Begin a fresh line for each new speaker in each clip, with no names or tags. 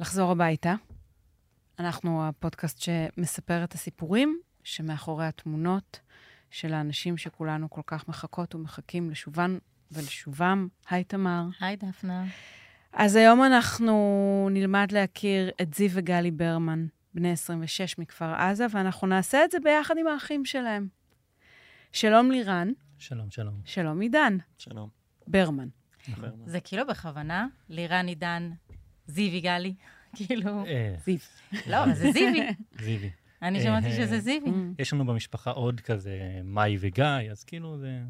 לחזור הביתה. אנחנו הפודקאסט שמספר את הסיפורים שמאחורי התמונות של האנשים שכולנו כל כך מחכות ומחכים לשובן ולשובם. היי, תמר.
היי, דפנה.
אז היום אנחנו נלמד להכיר את זיו וגלי ברמן, בני 26 מכפר עזה, ואנחנו נעשה את זה ביחד עם האחים שלהם. שלום לירן,
שלום, שלום. נכון.
שלום עידן
שלום.
ברמן.
ברמן.
זה כאילו בכוונה, לירן עידן, זיו יגאלי, כאילו,
אה,
זיו.
לא, אבל זה זיווי.
זיווי.
אני
אה,
שמעתי
אה.
שזה
Mm.
זיווי.
יש לנו במשפחה עוד כזה, מאי וגיא, אז כאילו זה,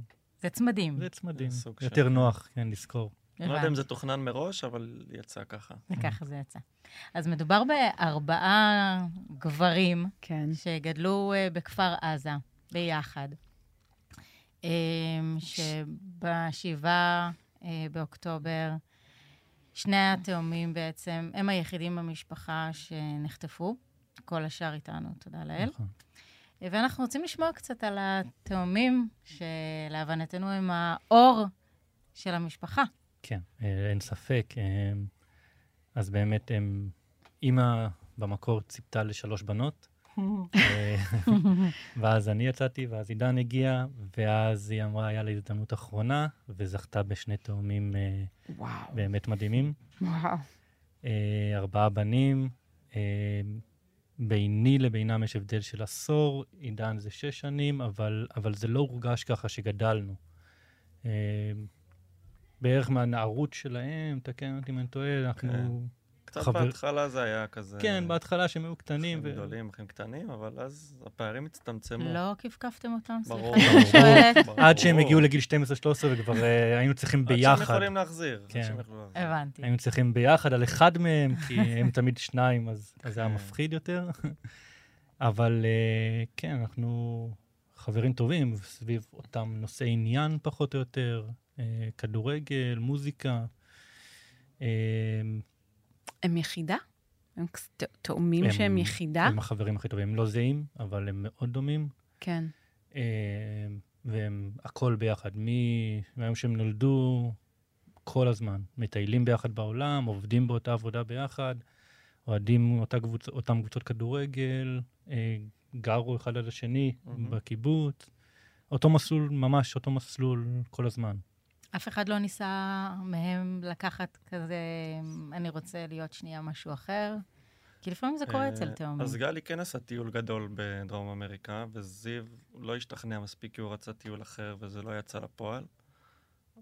זה צמדים.
זה צמדים.
כן, זה סוג של-
יותר נוח, כן, לזכור.
אני לא יודע אם
הבנתי.
זה תוכנן מראש, אבל יצא ככה.
וככה זה יצא. אז מדובר בארבעה גברים
כן.
שגדלו אה, בכפר עזה ביחד, אה, שבשבעה אה, באוקטובר, שני התאומים בעצם, הם היחידים במשפחה שנחטפו, כל השאר איתנו, תודה לאל. אה,
נכון.
ואנחנו רוצים לשמוע קצת על התאומים, שלהבנתנו הם האור של המשפחה.
כן, אה, אין ספק. אה, אז באמת, הם... אימא במקור ציפתה לשלוש בנות, אה, ואז אני יצאתי, ואז עידן הגיע, ואז היא אמרה, היה לה הזדמנות אחרונה, וזכתה בשני תאומים אה,
וואו.
באמת מדהימים.
וואו.
אה, ארבעה בנים. אה, ביני לבינם יש הבדל של עשור, עידן זה שש שנים, אבל, אבל זה לא הורגש ככה שגדלנו. אה, בערך מהנערות שלהם, תקן אותי אם אני טועה, אנחנו...
קצת
חבר-
בהתחלה זה היה כזה...
כן, בהתחלה שהם היו קטנים.
אחים
ו-
גדולים, אחים קטנים, אבל אז הפערים הצטמצמו.
לא כפכפתם אותם?
ברור.
סליחה, אני שואלת.
ברור.
עד שהם הגיעו לגיל 12-13 וכבר אה, היינו צריכים
עד שהם
ביחד.
יכולים להחזיר. עד
כן.
שהם יכלו להחזיר.
הבנתי.
היינו צריכים ביחד על אחד מהם, כי הם תמיד שניים, אז אז זה היה
כן.
מפחיד יותר. אבל אה, כן, אנחנו חברים טובים סביב אותם נושאי עניין פחות או יותר, אה, כדורגל, מוזיקה. אה,
הם יחידה? הם כס- ת- תאומים
הם-
שהם יחידה?
הם החברים הכי טובים, הם לא זהים, אבל הם מאוד דומים.
כן.
אה, והם הכל ביחד, מ- מהיום שהם נולדו, כל הזמן. מטיילים ביחד בעולם, עובדים באותה עבודה ביחד, אוהדים אותה קבוצ... אותם קבוצות כדורגל, אה, גרו אחד על השני
מהמם.
בקיבוץ. אותו מסלול, ממש אותו מסלול כל הזמן.
אף אחד לא ניסה מהם לקחת כזה, אני רוצה להיות שנייה משהו אחר? כי לפעמים זה קורה
אה,
אצל תאומים.
אז גלי כן עשה טיול גדול בדרום אמריקה, וזיו לא השתכנע מספיק כי הוא רצה טיול אחר, וזה לא יצא לפועל.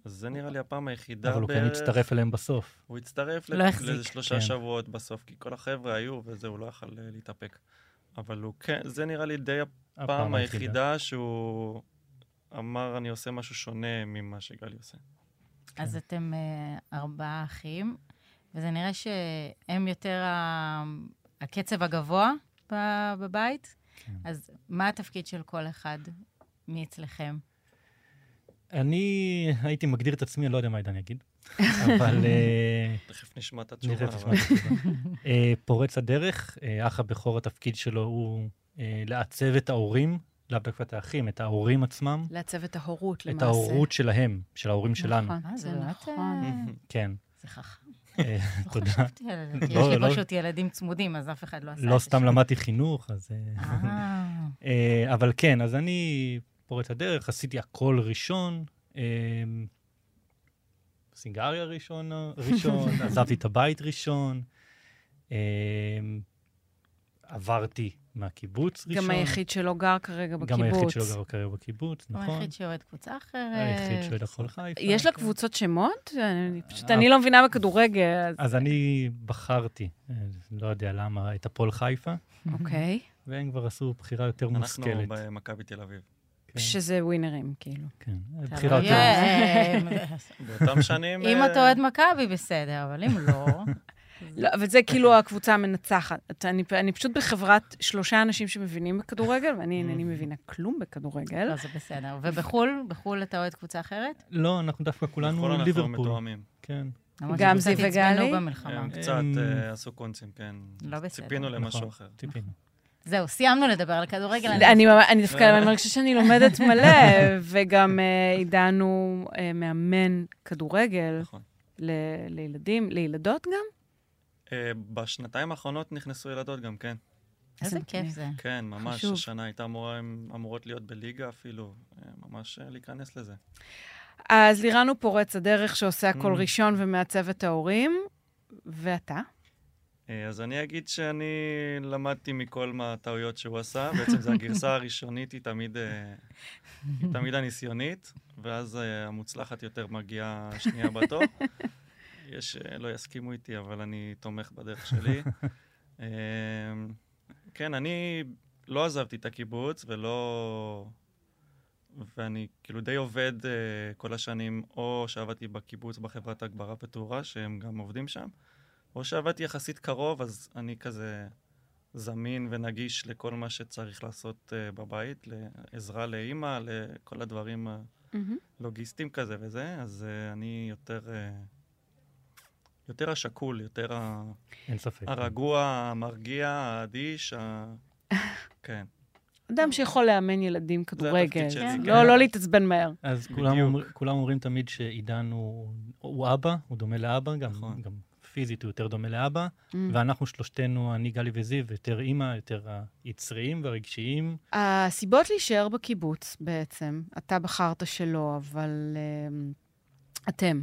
אז זה נראה לי הפעם היחידה
אבל הוא כן הצטרף אליהם בסוף.
הוא הצטרף
לא
לא
החזיק.
לאיזה שלושה
כן.
שבועות בסוף, כי כל החבר'ה היו, וזה, הוא לא יכל אה, להתאפק. אבל הוא כן, זה נראה לי די הפעם היחידה שהוא אמר, אני עושה משהו שונה ממה שגלי עושה.
כן.
אז אתם אה, ארבעה אחים, וזה נראה שהם יותר ה- הקצב הגבוה ב- בבית.
כן.
אז מה התפקיד של כל אחד מאצלכם?
אני הייתי מגדיר את עצמי, אני לא יודע מה עידן יגיד, אבל... אה,
תכף נשמע את התשובה.
תשובה.
אבל-
אה, פורץ הדרך, אה, אח הבכור, התפקיד שלו הוא אה, לעצב את ההורים, לא לאו דווקא את האחים, את ההורים עצמם,
לעצב את ההורות, למעשה.
את ההורות שלהם, של ההורים שלנו.
נכון,
אה,
זה
זה באמת,
נכון.
אה,
כן.
זה חכם.
אה,
לא
תודה.
חשבתי על זה, כי יש
לא,
לי
לא.
פשוט ילדים צמודים, אז אף אחד לא עשה את זה.
לא סתם
שם.
למדתי חינוך, אז... אה,
אה,
אה, אבל כן, אז אני פורץ הדרך, עשיתי הכל ראשון. אה, סיגריה ראשון, ראשון, עזבתי את הבית ראשון. אה, עברתי מהקיבוץ ראשון.
גם היחיד שלא גר כרגע בקיבוץ.
גם היחיד שלא גר כרגע בקיבוץ,
הוא
נכון.
היחיד שאוהד קבוצה אחרת.
היחיד שלא יכול חיפה.
יש
כן.
לקבוצות שמות? אני
אה,
פשוט, אני לא מבינה בכדורגל, אז
אז אני בחרתי, אה, לא יודע למה, את הפועל חיפה, אה,
אוקיי.
והם כבר עשו בחירה יותר
אנחנו
מושכלת.
במכבי תל אביב.
כן,
שזה ווינרים, כאילו.
כן,
אתה
בחירה
לא
יותר...
יודע, אה,
באותם שנים...
אם
אה,
אתה אוהד מכבי, בסדר, אבל אם לא...
לא, אבל זה כאילו הקבוצה המנצחת. אני, אני פשוט בחברת שלושה אנשים שמבינים בכדורגל, ואני
אה.
אינני מבינה כלום בכדורגל.
לא, זה בסדר. ובחו"ל, בחו"ל אתה אוהד קבוצה אחרת?
לא, אנחנו דווקא
בכל
כולנו
נכון, אנחנו
ליברפול.
מתואמים.
כן.
למרות
גם
שקצת
זיו
עצבנו
וגלי?
במלחמה.
הם קצת אה,
אמ,
עשו קונצים, כן.
לא בסדר.
ציפינו
נכון,
למשהו אחר.
טיפינו.
זהו, סיימנו לדבר על כדורגל.
אני, ממש- אני דווקא
אה.
אני מרגישה שאני לומדת מלא, וגם אה, עידן הוא אה, מאמן כדורגל
נכון.
ל- לילדים, לילדות גם?
אה, בשנתיים האחרונות נכנסו ילדות גם, כן.
איזה
אז
כיף
מגניב.
זה.
כן, ממש.
חשוב.
השנה הייתה אמורה, הם אמורות להיות בליגה אפילו, אה, ממש אה, להיכנס לזה.
אז לירן הוא פורץ הדרך שעושה הכל
Mm.
ראשון ומעצב את ההורים, ואתה?
אה, אז אני אגיד שאני למדתי מכל מה הטעויות שהוא עשה, בעצם זו הגרסה הראשונית, היא תמיד, אה, היא תמיד הניסיונית, ואז אה, המוצלחת יותר מגיעה שנייה בתור. יש, אה, לא יסכימו איתי, אבל אני תומך בדרך שלי. אה, כן, אני לא עזבתי את הקיבוץ ולא... ואני כאילו די עובד uh, כל השנים, או שעבדתי בקיבוץ בחברת הגברה ותאורה, שהם גם עובדים שם, או שעבדתי יחסית קרוב, אז אני כזה זמין ונגיש לכל מה שצריך לעשות uh, בבית, לעזרה לאימא, לכל הדברים הלוגיסטיים כזה וזה, אז uh, אני יותר, uh, יותר השקול, יותר ה...
אין ספק.
הרגוע, המרגיע, האדיש, ה... כן.
אדם שיכול לאמן ילדים כדורגל.
התפקיד שלי,
כן.
לא,
כן.
לא להתעצבן מהר.
אז
בדיוק.
כולם, אומר, כולם אומרים תמיד שעידן הוא, הוא אבא, הוא דומה לאבא, גם,
נכון.
גם פיזית הוא יותר דומה לאבא, ואנחנו שלושתנו, אני, גלי וזיו, יותר אימא, יותר היצריים והרגשיים.
הסיבות להישאר בקיבוץ בעצם, אתה בחרת שלא, אבל אמ, אתם,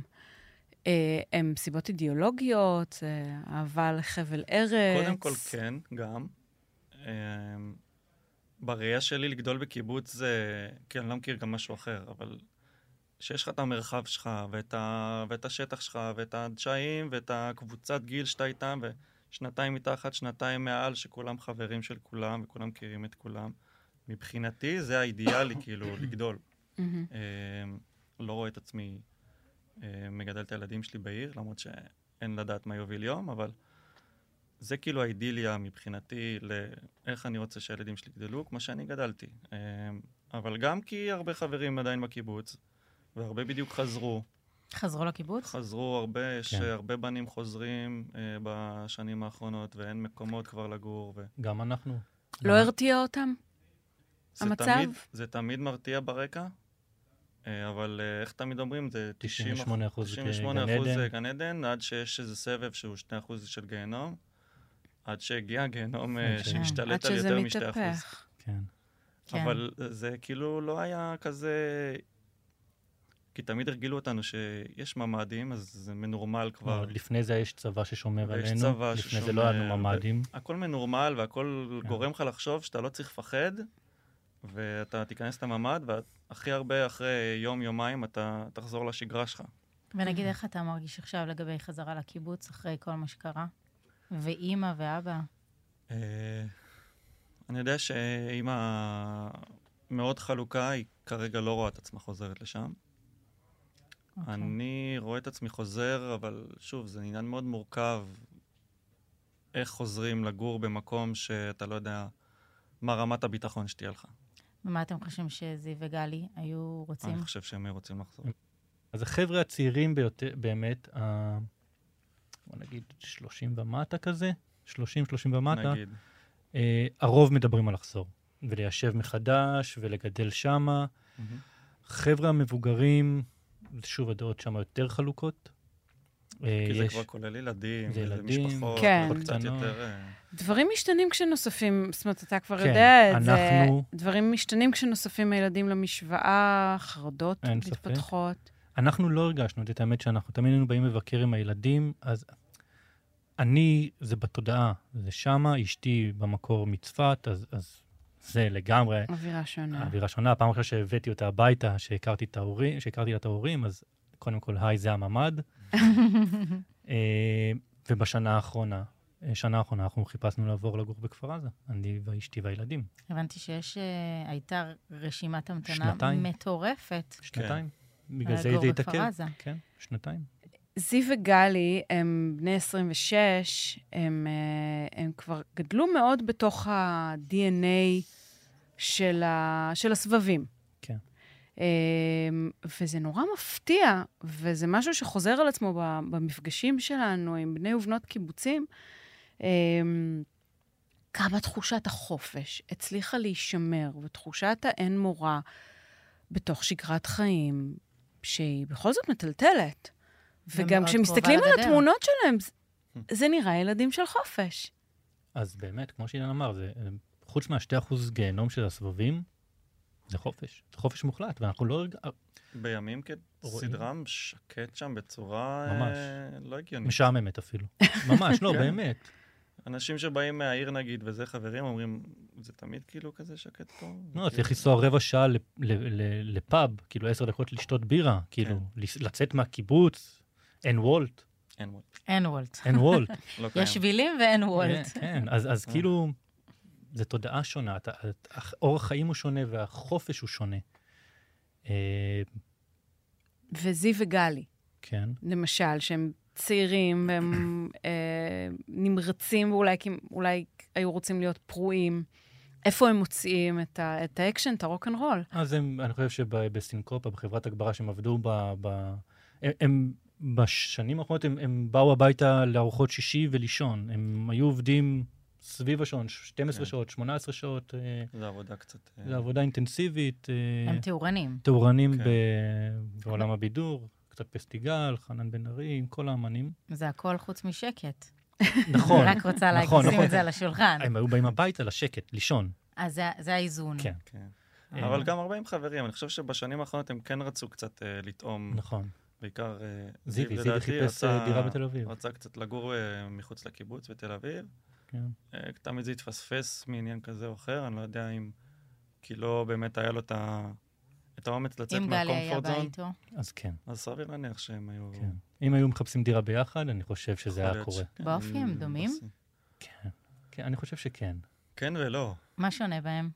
אה, הם סיבות אידיאולוגיות, אה, אהבה לחבל ארץ.
קודם כל כן, גם. אמ, בראייה שלי לגדול בקיבוץ זה, כי אני לא מכיר גם משהו אחר, אבל שיש לך את המרחב שלך, ואת, ה... ואת השטח שלך, ואת הדשאים, ואת הקבוצת גיל שאתה איתם, ושנתיים מתחת, שנתיים מעל, שכולם חברים של כולם, וכולם מכירים את כולם. מבחינתי זה האידיאלי, כאילו, לגדול.
מהמם.
אמ, לא רואה את עצמי אה, מגדל את הילדים שלי בעיר, למרות שאין לדעת מה יוביל יום, אבל זה כאילו האידיליה מבחינתי לאיך אני רוצה שהילדים שלי יגדלו, כמו שאני גדלתי. אמ, אבל גם כי הרבה חברים עדיין בקיבוץ, והרבה בדיוק חזרו.
חזרו לקיבוץ?
חזרו הרבה, יש
כן.
אה, הרבה בנים חוזרים אה, בשנים האחרונות, ואין מקומות כבר לגור. ו...
גם אנחנו.
לא
אה.
הרתיע אותם?
זה
המצב?
תמיד, זה תמיד מרתיע ברקע, אה, אבל אה, איך תמיד אומרים? זה 90
98% זה
98
גן
אחוז
עדן.
זה גן עדן, עד שיש איזה סבב שהוא 2 אחוז של גיהנום, עד שהגיע הגיהנום אה,
כן.
עד
שהשתלט על
שזה
יותר מ-2 אחוז.
מתהפך.
כן.
כן.
אבל זה כאילו לא היה כזה... כי תמיד הרגילו אותנו שיש ממ"דים, אז זה מנורמל כבר.
כבר לפני זה יש צבא ששומר
ויש
עלינו.
צבא
לפני זה
ששומר,
לא היה לנו ממ"דים.
הכל מנורמל והכל
כן.
גורם לך לחשוב שאתה לא צריך לפחד, ואתה תיכנס לממ"ד, והכי הרבה אחרי יום-יומיים אתה תחזור לשגרה שלך.
כן. ונגיד, איך אתה מרגיש עכשיו לגבי חזרה לקיבוץ אחרי כל מה שקרה? ואימא ואבא?
אה, אני יודע שאימא מאוד חלוקה, היא כרגע לא רואה את עצמה חוזרת לשם.
אוקיי.
אני רואה את עצמי חוזר, אבל שוב, זה עניין מאוד מורכב. איך חוזרים לגור במקום שאתה לא יודע מה רמת הביטחון שתהיה לך.
ומה אתם חושבים שזיו וגלי היו רוצים?
אני חושב שהם רוצים לחזור.
אז החבר'ה הצעירים ביותר, באמת, ה... בוא נגיד 30 ומטה כזה, 30, 30 ומטה,
נגיד.
אה, הרוב מדברים על לחזור. וליישב מחדש, ולגדל שמה.
מהמם.
חבר'ה המבוגרים, שוב, הדעות שם יותר חלוקות. אה,
כי זה
יש-
כבר כולל ילדים,
זה
וזה
ילדים,
משפחות,
כן.
וזה קצת
קטנות.
יותר... אה,
דברים משתנים כשנוספים, זאת אומרת, אתה כבר
כן,
יודע את זה.
אנחנו-
דברים משתנים כשנוספים הילדים למשוואה, חרדות
אין ספק.
מתפתחות.
אנחנו לא הרגשנו את זה, את האמת שאנחנו תמיד היינו באים לבקר עם הילדים, אז אני, זה בתודעה, זה שמה, אשתי במקור מצפת, אז, אז זה לגמרי
אה.
אווירה שונה.
האווירה שונה. הפעם אחרי שהבאתי אותה הביתה, שהכרתי את ההורים, שהכרתי לה את ההורים, אז קודם כל, היי, זה הממ"ד. אה, ובשנה האחרונה, אה, שנה האחרונה, אנחנו חיפשנו לעבור לגור בכפר עזה, אני ואשתי והילדים,
הבנתי שיש, אה, הייתה רשימת המתנה
שנתיים.
מטורפת.
שנתיים. בגלל זה
לגור
זה
בכפר
התעכב.
עזה.
כן, שנתיים.
זיו וגלי הם בני 26, הם, אה, הם כבר גדלו מאוד בתוך ה-DNA של, ה, של הסבבים.
כן.
אה, וזה נורא מפתיע, וזה משהו שחוזר על עצמו ב- במפגשים שלנו עם בני ובנות קיבוצים, אה, כמה תחושת החופש הצליחה להישמר, ותחושת האין מורא בתוך שגרת חיים, שהיא בכל זאת מטלטלת. וגם
ומאוד
כשמסתכלים
קרובה
על
לגדר.
התמונות שלהם, זה- זה נראה ילדים של חופש.
אז באמת, כמו שאילן אמר, זה, אה, חוץ מהשתי אחוז גיהנום של הסבבים, זה חופש. זה חופש מוחלט, ואנחנו לא... הרג-
Mm. בימים
רואים.
כסדרה שקט שם בצורה אה,
ממש.
לא הגיונית.
משעממת אפילו. ממש, לא,
כן.
באמת.
אנשים שבאים מהעיר נגיד, וזה חברים, אומרים, זה תמיד כאילו כזה שקט פה?
לא,
וכאילו-
צריך לנסוע רבע שעה ל- ל- ל- לפאב, כאילו עשר דקות לשתות בירה,
כן.
כאילו, לס- לצאת מהקיבוץ, אין וולט,
אין וולט.
אין וולט.
אין וולט.
לא קיים.
יש שבילים ואין וולט.
כן, כן, אז אז
אה.
כאילו, זו תודעה שונה, אתה- את- הח- אורח החיים הוא שונה והחופש הוא שונה. אה,
וזיו וגלי,
כן,
למשל, שהם צעירים, הם אה, נמרצים, ואולי כי- אולי היו רוצים להיות פרועים. איפה הם מוצאים את ה- את האקשן, את הרוקנרול?
אז הם, אני חושב שבסינקופה, בחברת הגברה שהם עבדו ב... ב- הם- הם בשנים האחרונות הם, הם באו הביתה לארוחות שישי ולישון. הם היו עובדים סביב השעון, 12
כן.
שעות, 18 שעות. אה,
זו עבודה קצת... אה,
זו עבודה אינטנסיבית, אה,
הם טהורנים.
טהורנים
כן.
ב- בעולם הבידור, קצת פסטיגל, חנן בן ארי, עם כל האמנים.
זה הכל חוץ משקט.
נכון,
אני רק רוצה להגיד-
נכון,
לשים
נכון.
את זה על השולחן.
הם היו באים הביתה לשקט, לישון.
Mm.
אז זה- זה האיזון.
כן.
כן.
אה,
אבל גם הרבה עם חברים, אני חושב שבשנים האחרונות הם כן רצו קצת אה, לטעום,
נכון.
בעיקר אה,
זיווי, זיווי
לדעתי,
חיפש
רצה-
אה, דירה בתל אביב.
רצה קצת לגור אה, מחוץ לקיבוץ בתל אביב.
כן.
אה, תמיד זה התפספס מעניין כזה או אחר, אני לא יודע אם... כי לא באמת היה לו את ה- את האומץ לצאת
אם גלי היה
מהקומפורט
בא
זון,
איתו.
אז כן,
אז סביר להניח שהם היו...
כן. אם היו מחפשים דירה ביחד, אני חושב שזה
יכול
היה
להיות
קורה.
שכן,
באופי הם
אני
דומים?
מנסה.
כן, כן, אני חושב שכן.
כן ולא.
מה שונה בהם?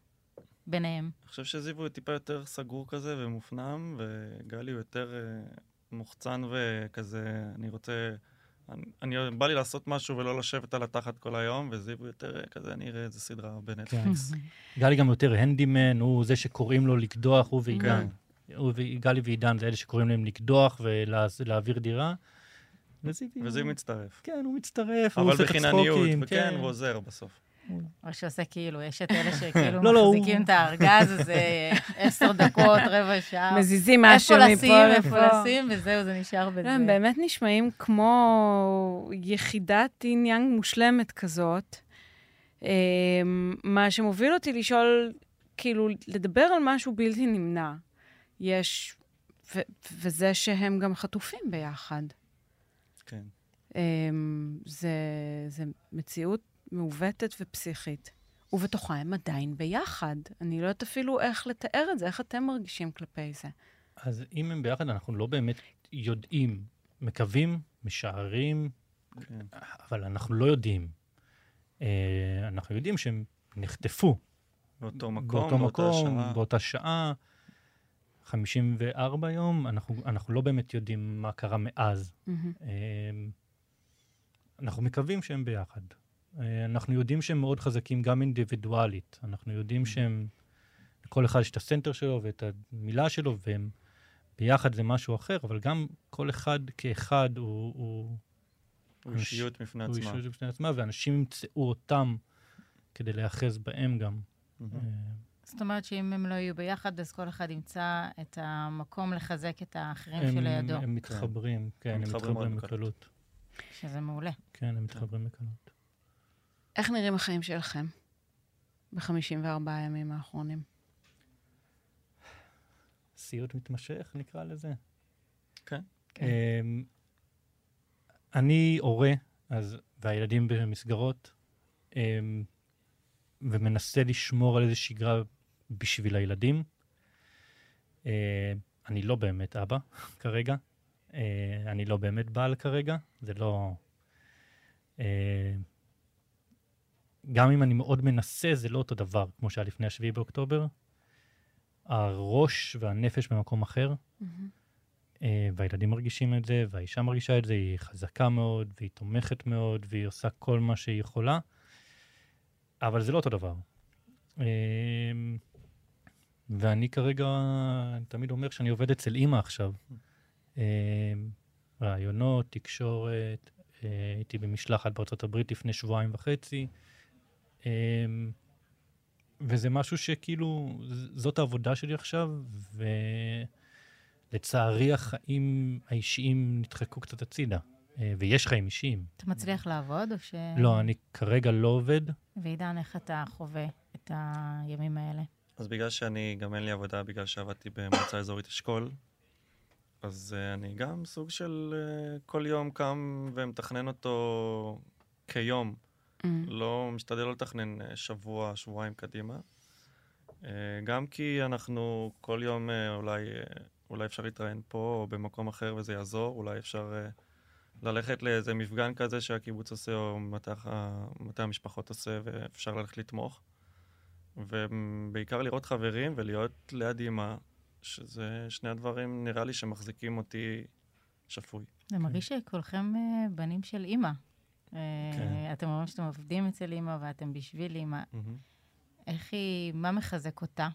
ביניהם.
אני חושב שזיו הוא טיפה יותר סגור כזה ומופנם, וגלי הוא יותר אה, מוחצן וכזה, אני רוצה... אני, אני, בא לי לעשות משהו ולא לשבת על התחת כל היום, וזיו הוא יותר אה, כזה, אני אראה איזה סדרה
כן.
בנטפליקס.
גלי גם יותר הנדימן, הוא זה שקוראים לו לקדוח, הוא ועידן.
כן.
הוא ו- גלי ועידן זה אלה שקוראים להם לקדוח ולהעביר דירה. וזיווי-
וזיו מצטרף.
כן, הוא מצטרף, הוא
אבל
עושה את
בחינניות,
הצחוקים. כן.
וכן, הוא עוזר בסוף.
או שעושה כאילו, יש את אלה שכאילו
לא, לא, הוא-
מחזיקים את הארגז הזה עשר דקות, רבע שעה.
מזיזים משהו
איפה
מפה
אה, לשים, איפה
לפה.
לשים, וזהו, זה נשאר
כן,
בזה.
לא, הם באמת נשמעים כמו יחידת עניין מושלמת כזאת. אמ, מה שמוביל אותי לשאול, כאילו, לדבר על משהו בלתי נמנע. יש, ו- וזה שהם גם חטופים ביחד.
כן.
אמ, זה, זה מציאות מעוותת ופסיכית. ובתוכה הם עדיין ביחד. אני לא יודעת אפילו איך לתאר את זה, איך אתם מרגישים כלפי זה.
אז אם הם ביחד, אנחנו לא באמת יודעים, מקווים, משערים,
כן.
אבל אנחנו לא יודעים. אה, אנחנו יודעים שהם נחטפו
באותו מקום,
באותו
באותה
מקום,
שעה.
באותה שעה, 54 יום, אנחנו, אנחנו לא באמת יודעים מה קרה מאז.
מהמם.
אה, אנחנו מקווים שהם ביחד. אה, אנחנו יודעים שהם מאוד חזקים גם אינדיבידואלית. אנחנו
Mm-hmm.
יודעים שהם, לכל אחד יש את הסנטר שלו ואת המילה שלו, והם ביחד זה משהו אחר, אבל גם כל אחד כאחד הוא, הוא,
הוא אישיות בפני
הוא
עצמה.
אישיות בפני עצמה, ואנשים ימצאו אותם כדי להיאחז בהם גם.
מהמם.
אה,
זאת אומרת שאם הם לא יהיו ביחד, אז כל אחד ימצא את המקום לחזק את האחרים
הם-
שלידו,
הם מתחברים, כן, הם
מתחברים
מתחברים
מאוד בקלות.
בקלות.
שזה מעולה.
כן, הם מתחברים בקלות.
איך נראים החיים שלכם ב-54 הימים האחרונים?
סיוט מתמשך, נקרא לזה.
כן.
כן.
אמ, אני הורה, אז, והילדים במסגרות, אמ, ומנסה לשמור על איזו שגרה בשביל הילדים. אה, אני לא באמת אבא כרגע. אה, אני לא באמת בעל כרגע. זה לא... אה, גם אם אני מאוד מנסה, זה לא אותו דבר כמו שהיה לפני השביעי באוקטובר. הראש והנפש במקום אחר, אה, והילדים מרגישים את זה, והאישה מרגישה את זה, היא חזקה מאוד, והיא תומכת מאוד, והיא עושה כל מה שהיא יכולה, אבל זה לא אותו דבר. אה, ואני כרגע, אני תמיד אומר שאני עובד אצל אימא עכשיו. אה, רעיונות, תקשורת, אה, הייתי במשלחת בארצות הברית לפני שבועיים וחצי. אה, וזה משהו שכאילו, ז- זאת העבודה שלי עכשיו, ולצערי החיים האישיים נדחקו קצת הצידה. אה, ויש חיים אישיים.
אתה מצליח לעבוד או ש...
לא, אני כרגע לא עובד.
ועידן, איך אתה חווה את הימים האלה?
אז בגלל שאני, גם אין לי עבודה, בגלל שעבדתי במועצה אזורית אשכול, אז uh, אני גם סוג של uh, כל יום קם ומתכנן אותו כיום. לא, משתדל לא לתכנן אה, שבוע, שבועיים קדימה. אה, גם כי אנחנו כל יום אה, אולי, אה, אולי אפשר להתראיין פה או במקום אחר וזה יעזור, אולי אפשר אה, ללכת לאיזה מפגן כזה שהקיבוץ עושה או מטה, ה- מטה המשפחות עושה ואפשר ללכת לתמוך. ובעיקר לראות חברים ולהיות ליד אימא, שזה שני הדברים נראה לי שמחזיקים אותי שפוי.
זה
כן.
מרגיש שכולכם אה, בנים של אימא. אה,
כן.
אתם אומרים שאתם עובדים אצל אימא ואתם בשביל אימא.
Mm-hmm.
איך היא, מה מחזק אותה?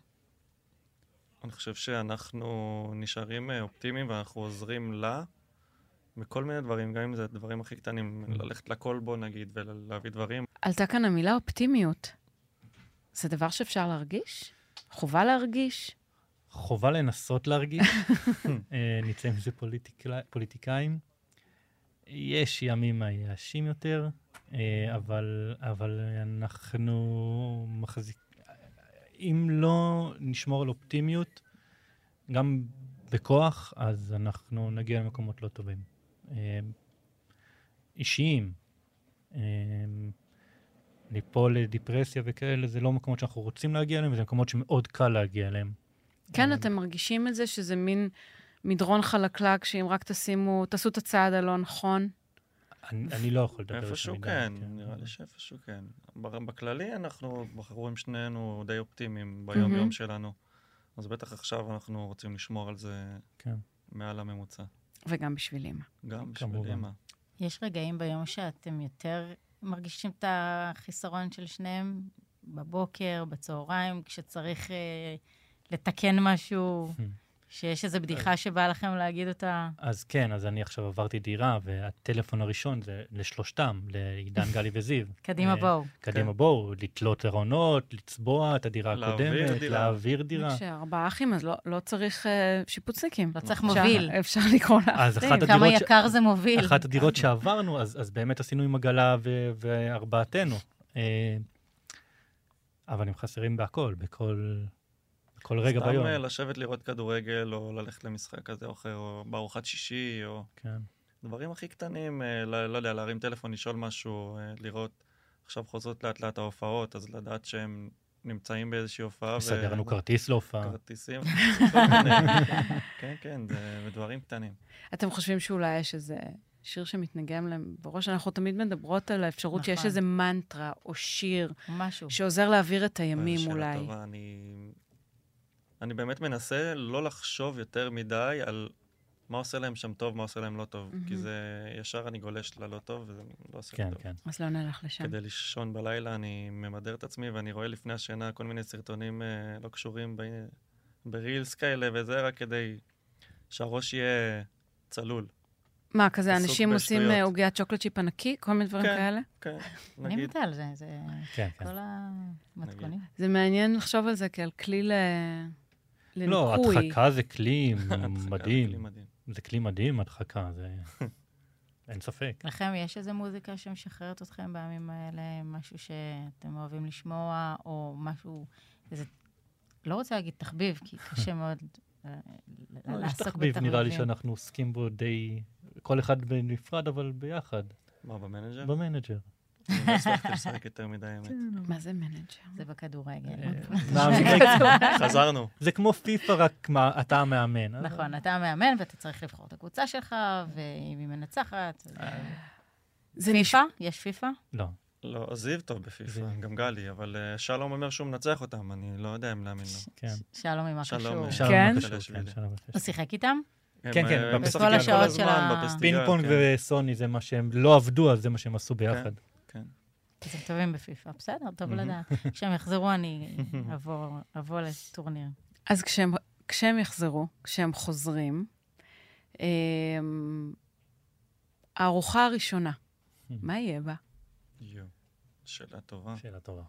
אני חושב שאנחנו נשארים אה, אופטימיים ואנחנו עוזרים לה בכל מיני דברים, גם אם זה הדברים הכי קטנים,
Mm.
ללכת לכלבו נגיד ולהביא דברים.
עלתה כאן המילה אופטימיות. זה דבר שאפשר להרגיש? חובה להרגיש?
חובה לנסות להרגיש. אה, נצא מזה פוליטיקלי- פוליטיקאים. יש ימים מייאשים יותר, אה, אבל, אבל אנחנו מחזיק... אם לא נשמור על אופטימיות, גם בכוח, אז אנחנו נגיע למקומות לא טובים. אה, אישיים. אה, ליפול לדיפרסיה וכאלה, זה לא מקומות שאנחנו רוצים להגיע אליהם, זה מקומות שמאוד קל להגיע אליהם.
כן, אתם מרגישים את זה שזה מין מדרון חלקלק, שאם רק תשימו, תעשו את הצעד הלא נכון.
אני, אני לא יכול לדבר
איפשהו
מדי,
כן, נראה לי שאיפשהו כן. בר- בכללי אנחנו בחורים שנינו די אופטימיים
מהמם.
ביום-יום שלנו, אז בטח עכשיו אנחנו רוצים לשמור על זה
כן.
מעל הממוצע.
וגם בשביל אימא.
גם בשביל
כמובן.
אימא.
יש רגעים ביום שאתם יותר מרגישים את החיסרון של שניהם? בבוקר, בצהריים, כשצריך אה, לתקן משהו,
Hmm.
שיש איזו בדיחה שבא לכם להגיד אותה?
אז כן, אז אני עכשיו עברתי דירה, והטלפון הראשון זה לשלושתם, לעידן, גלי וזיו.
קדימה,
אה,
בואו.
כן.
קדימה בואו, לתלות ארונות, לצבוע את הדירה
להעביר
הקודמת,
דירה.
להעביר דירה.
כשארבעה אחים, אז לא, לא צריך אה, שיפוצניקים.
לא צריך
אפשר-
מוביל.
אפשר לקרוא לה.
אז אחת
כמה
הדירות, ש...
יקר זה מוביל.
אחת הדירות שעברנו, אז, אז באמת עשינו עם עגלה ו... וארבעתנו. אה, אבל הם חסרים בהכל, בכל, בכל רגע
סתם
ביום.
אה, לשבת לראות כדורגל, או ללכת למשחק כזה או אחר, או בארוחת שישי, או
כן.
דברים הכי קטנים, אה, לא, לא יודע, להרים טלפון, לשאול משהו, אה, לראות. עכשיו חוזרות לאט לאט ההופעות, אז לדעת שהם נמצאים באיזושהי הופעה. ו-
סגרנו כרטיס להופעה.
כרטיסים. כל מיני. כן, כן, זה דברים קטנים.
אתם חושבים שאולי יש איזה שיר שמתנגן להם בראש? אנחנו תמיד מדברות על האפשרות שיש
נכון.
איזה מנטרה או שיר
משהו.
שעוזר להעביר את הימים
זו שאלה
אולי.
טובה, אני... אני באמת מנסה לא לחשוב יותר מדי על מה עושה להם שם טוב, מה עושה להם לא טוב, כי
מהמם.
זה ישר אני גולש ללא טוב, וזה לא עושה לי
כן,
טוב.
כן.
אז לא נלך לשם.
כדי לישון בלילה, אני ממדר את עצמי, ואני רואה לפני השינה כל מיני סרטונים אה, לא קשורים ב... ברילס כאלה וזה, רק כדי שהראש יהיה צלול.
מה, כזה
עסוק
אנשים עושים
בשטויות.
אה, עוגיית צ'וקלד צ'יפ ענקי? כל מיני דברים
כן.
כאלה?
כן,
אני
נגיד.
מתה על זה, זה
כן, כן.
כל המתכונים.
זה מעניין לחשוב על זה כעל כלי ל...
לא,
לניקוי.
הדחקה זה כלי
הדחקה, כלי
מדהים.
מדהים.
זה כלי מדהים, הדחקה, זה... אין ספק.
לכם יש איזו מוזיקה שמשחררת אתכם בימים האלה, משהו שאתם אוהבים לשמוע, או משהו, איזה, לא רוצה להגיד תחביב, כי קשה מאוד אה, ל-
לא, יש
לעסוק
תחביב, נראה לי
בתחביבים.
שאנחנו עוסקים בו די... כל אחד בנפרד, אבל ביחד,
מה, במנג'ר?
לא. במנג'ר.
אני לא הצלחתי לשחק יותר מדי, האמת.
מה זה מנג'ר?
זה בכדורגל.
אה, מאמני-
חזרנו.
זה כמו פיפא, רק מה- אתה המאמן. אז-
נכון, אתה המאמן ואתה צריך לבחור את הקבוצה שלך, ואם היא מנצחת... אז-
אה.
זה
פיפא? יש פיפא?
לא.
לא, זיו טוב בפיפ"א,
זיו.
גם גלי, אבל אה, שלום אומר שהוא מנצח אותם, אני לא יודע אם להאמין לו.
כן.
ש- שלום עם
שלום,
הקשור.
אה,
שלום,
כן?
לא קשור, כן, שלום, לא
הוא
קשור.
שיחק איתם?
כן,
הם,
כן, בפסטיגל.
אה, משחקים
בכל
כל
השעות
הזמן
של ה-
בפסטיגל,
פינג פונג
כן.
וסוני זה מה שהם לא עבדו, אז זה מה שהם עשו ביחד.
כן.
אז הם טובים בפיפא. בסדר, טוב
מהמם.
לדעת. כשהם יחזרו אני אבוא- אבוא לטורניר.
אז כשהם, כשהם יחזרו, כשהם חוזרים, אמ, הארוחה הראשונה,
Hmm.
מה יהיה בה?
יואו, שאלה טובה.
שאלה טובה.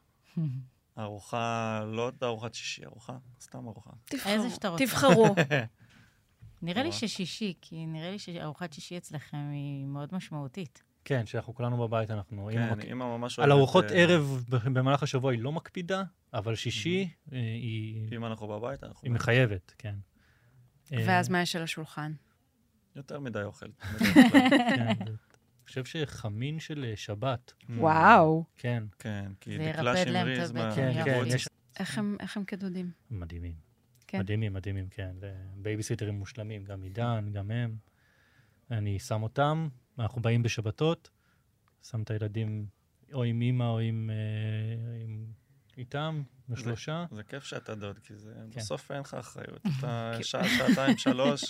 ארוחה, לא ארוחת שישי, ארוחה, סתם ארוחה.
תבחרו.
שאתה רוצה.
תבחרו.
נראה לי
וואו.
ששישי, כי נראה לי שארוחת שישי אצלכם היא מאוד משמעותית.
כן, שאנחנו כולנו בבית, אנחנו... אימא
כן,
מק-
אימא ממש
על
אוהבת,
ארוחות
אה,
ערב ב- במהלך השבוע היא לא מקפידה, אבל שישי אה, היא
אם אנחנו בבית, אנחנו
היא מחייבת, כן. אה,
ואז מה יש על השולחן?
יותר מדי אוכל.
כן, זה- אני חושב שחמין של אה, שבת,
וואו.
כן,
כן, כי
זה
דקלה
ירפד להם את
שמריז
הבטן,
כן,
יופי.
כן, יש
איך הם, איך הם כדודים?
מדהימים.
כן.
מדהימים, מדהימים, כן. זה בייביסיטרים מושלמים, גם עידן, גם הם. אני שם אותם, אנחנו באים בשבתות, שם את הילדים או עם אימא או עם... אה, עם איתם, בשלושה.
זה כיף שאתה דוד, כי זה...
כן.
בסוף אין לך אחריות. אתה שעה, שעתיים, שלוש,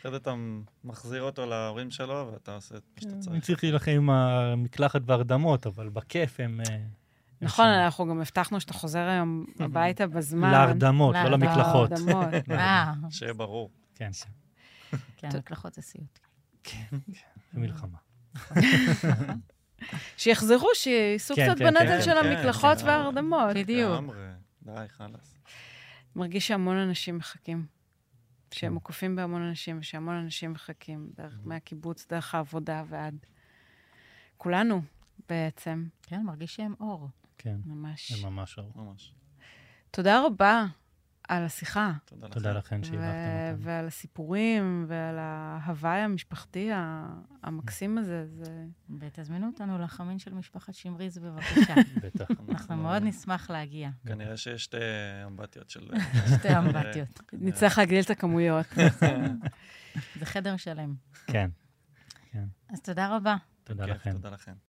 אחרי זה אתה מחזיר אותו להורים שלו, ואתה עושה את
כן.
מה שאתה
אני
צריך.
צריך להילחם עם המקלחת והרדמות, אבל בכיף הם... אה, הם
נכון,
שם.
אנחנו גם הבטחנו שאתה חוזר היום הביתה בזמן.
Hmm. להרדמות, לא
להרדמות.
למקלחות.
להרדמות.
אה,
שיהיה ברור.
כן,
כן, מקלחות זה סיוט.
זה מלחמה.
שיחזרו, שייסעו
כן,
קצת
כן,
בנטל
כן,
של
כן,
המקלחות
כן.
וההרדמות.
בדיוק.
לגמרי. די, חלאס.
מרגיש שהמון אנשים מחכים. שהם מוקפים בהמון אנשים, ושהמון אנשים מחכים, דרך, מהקיבוץ, דרך העבודה ועד... כולנו, בעצם,
כן, מרגיש שהם אור.
כן,
ממש.
זה ממש ארוך.
ממש.
תודה רבה על השיחה.
תודה לך.
תודה לכן
ו-
שאירחתם כן, אותנו.
ועל הסיפורים, ועל ההוואי המשפחתי ה- המקסים הזה. זה...
ותזמינו אותנו לחמין של משפחת שמריז, בבקשה.
בטח.
אנחנו מאוד נשמח להגיע.
כנראה שיש שתי אמבטיות של...
שתי אמבטיות.
נצטרך להגדיל את הכמויות.
זה חדר שלם.
כן,
אז תודה רבה.
תודה
כיף,
לכן.
תודה לכם.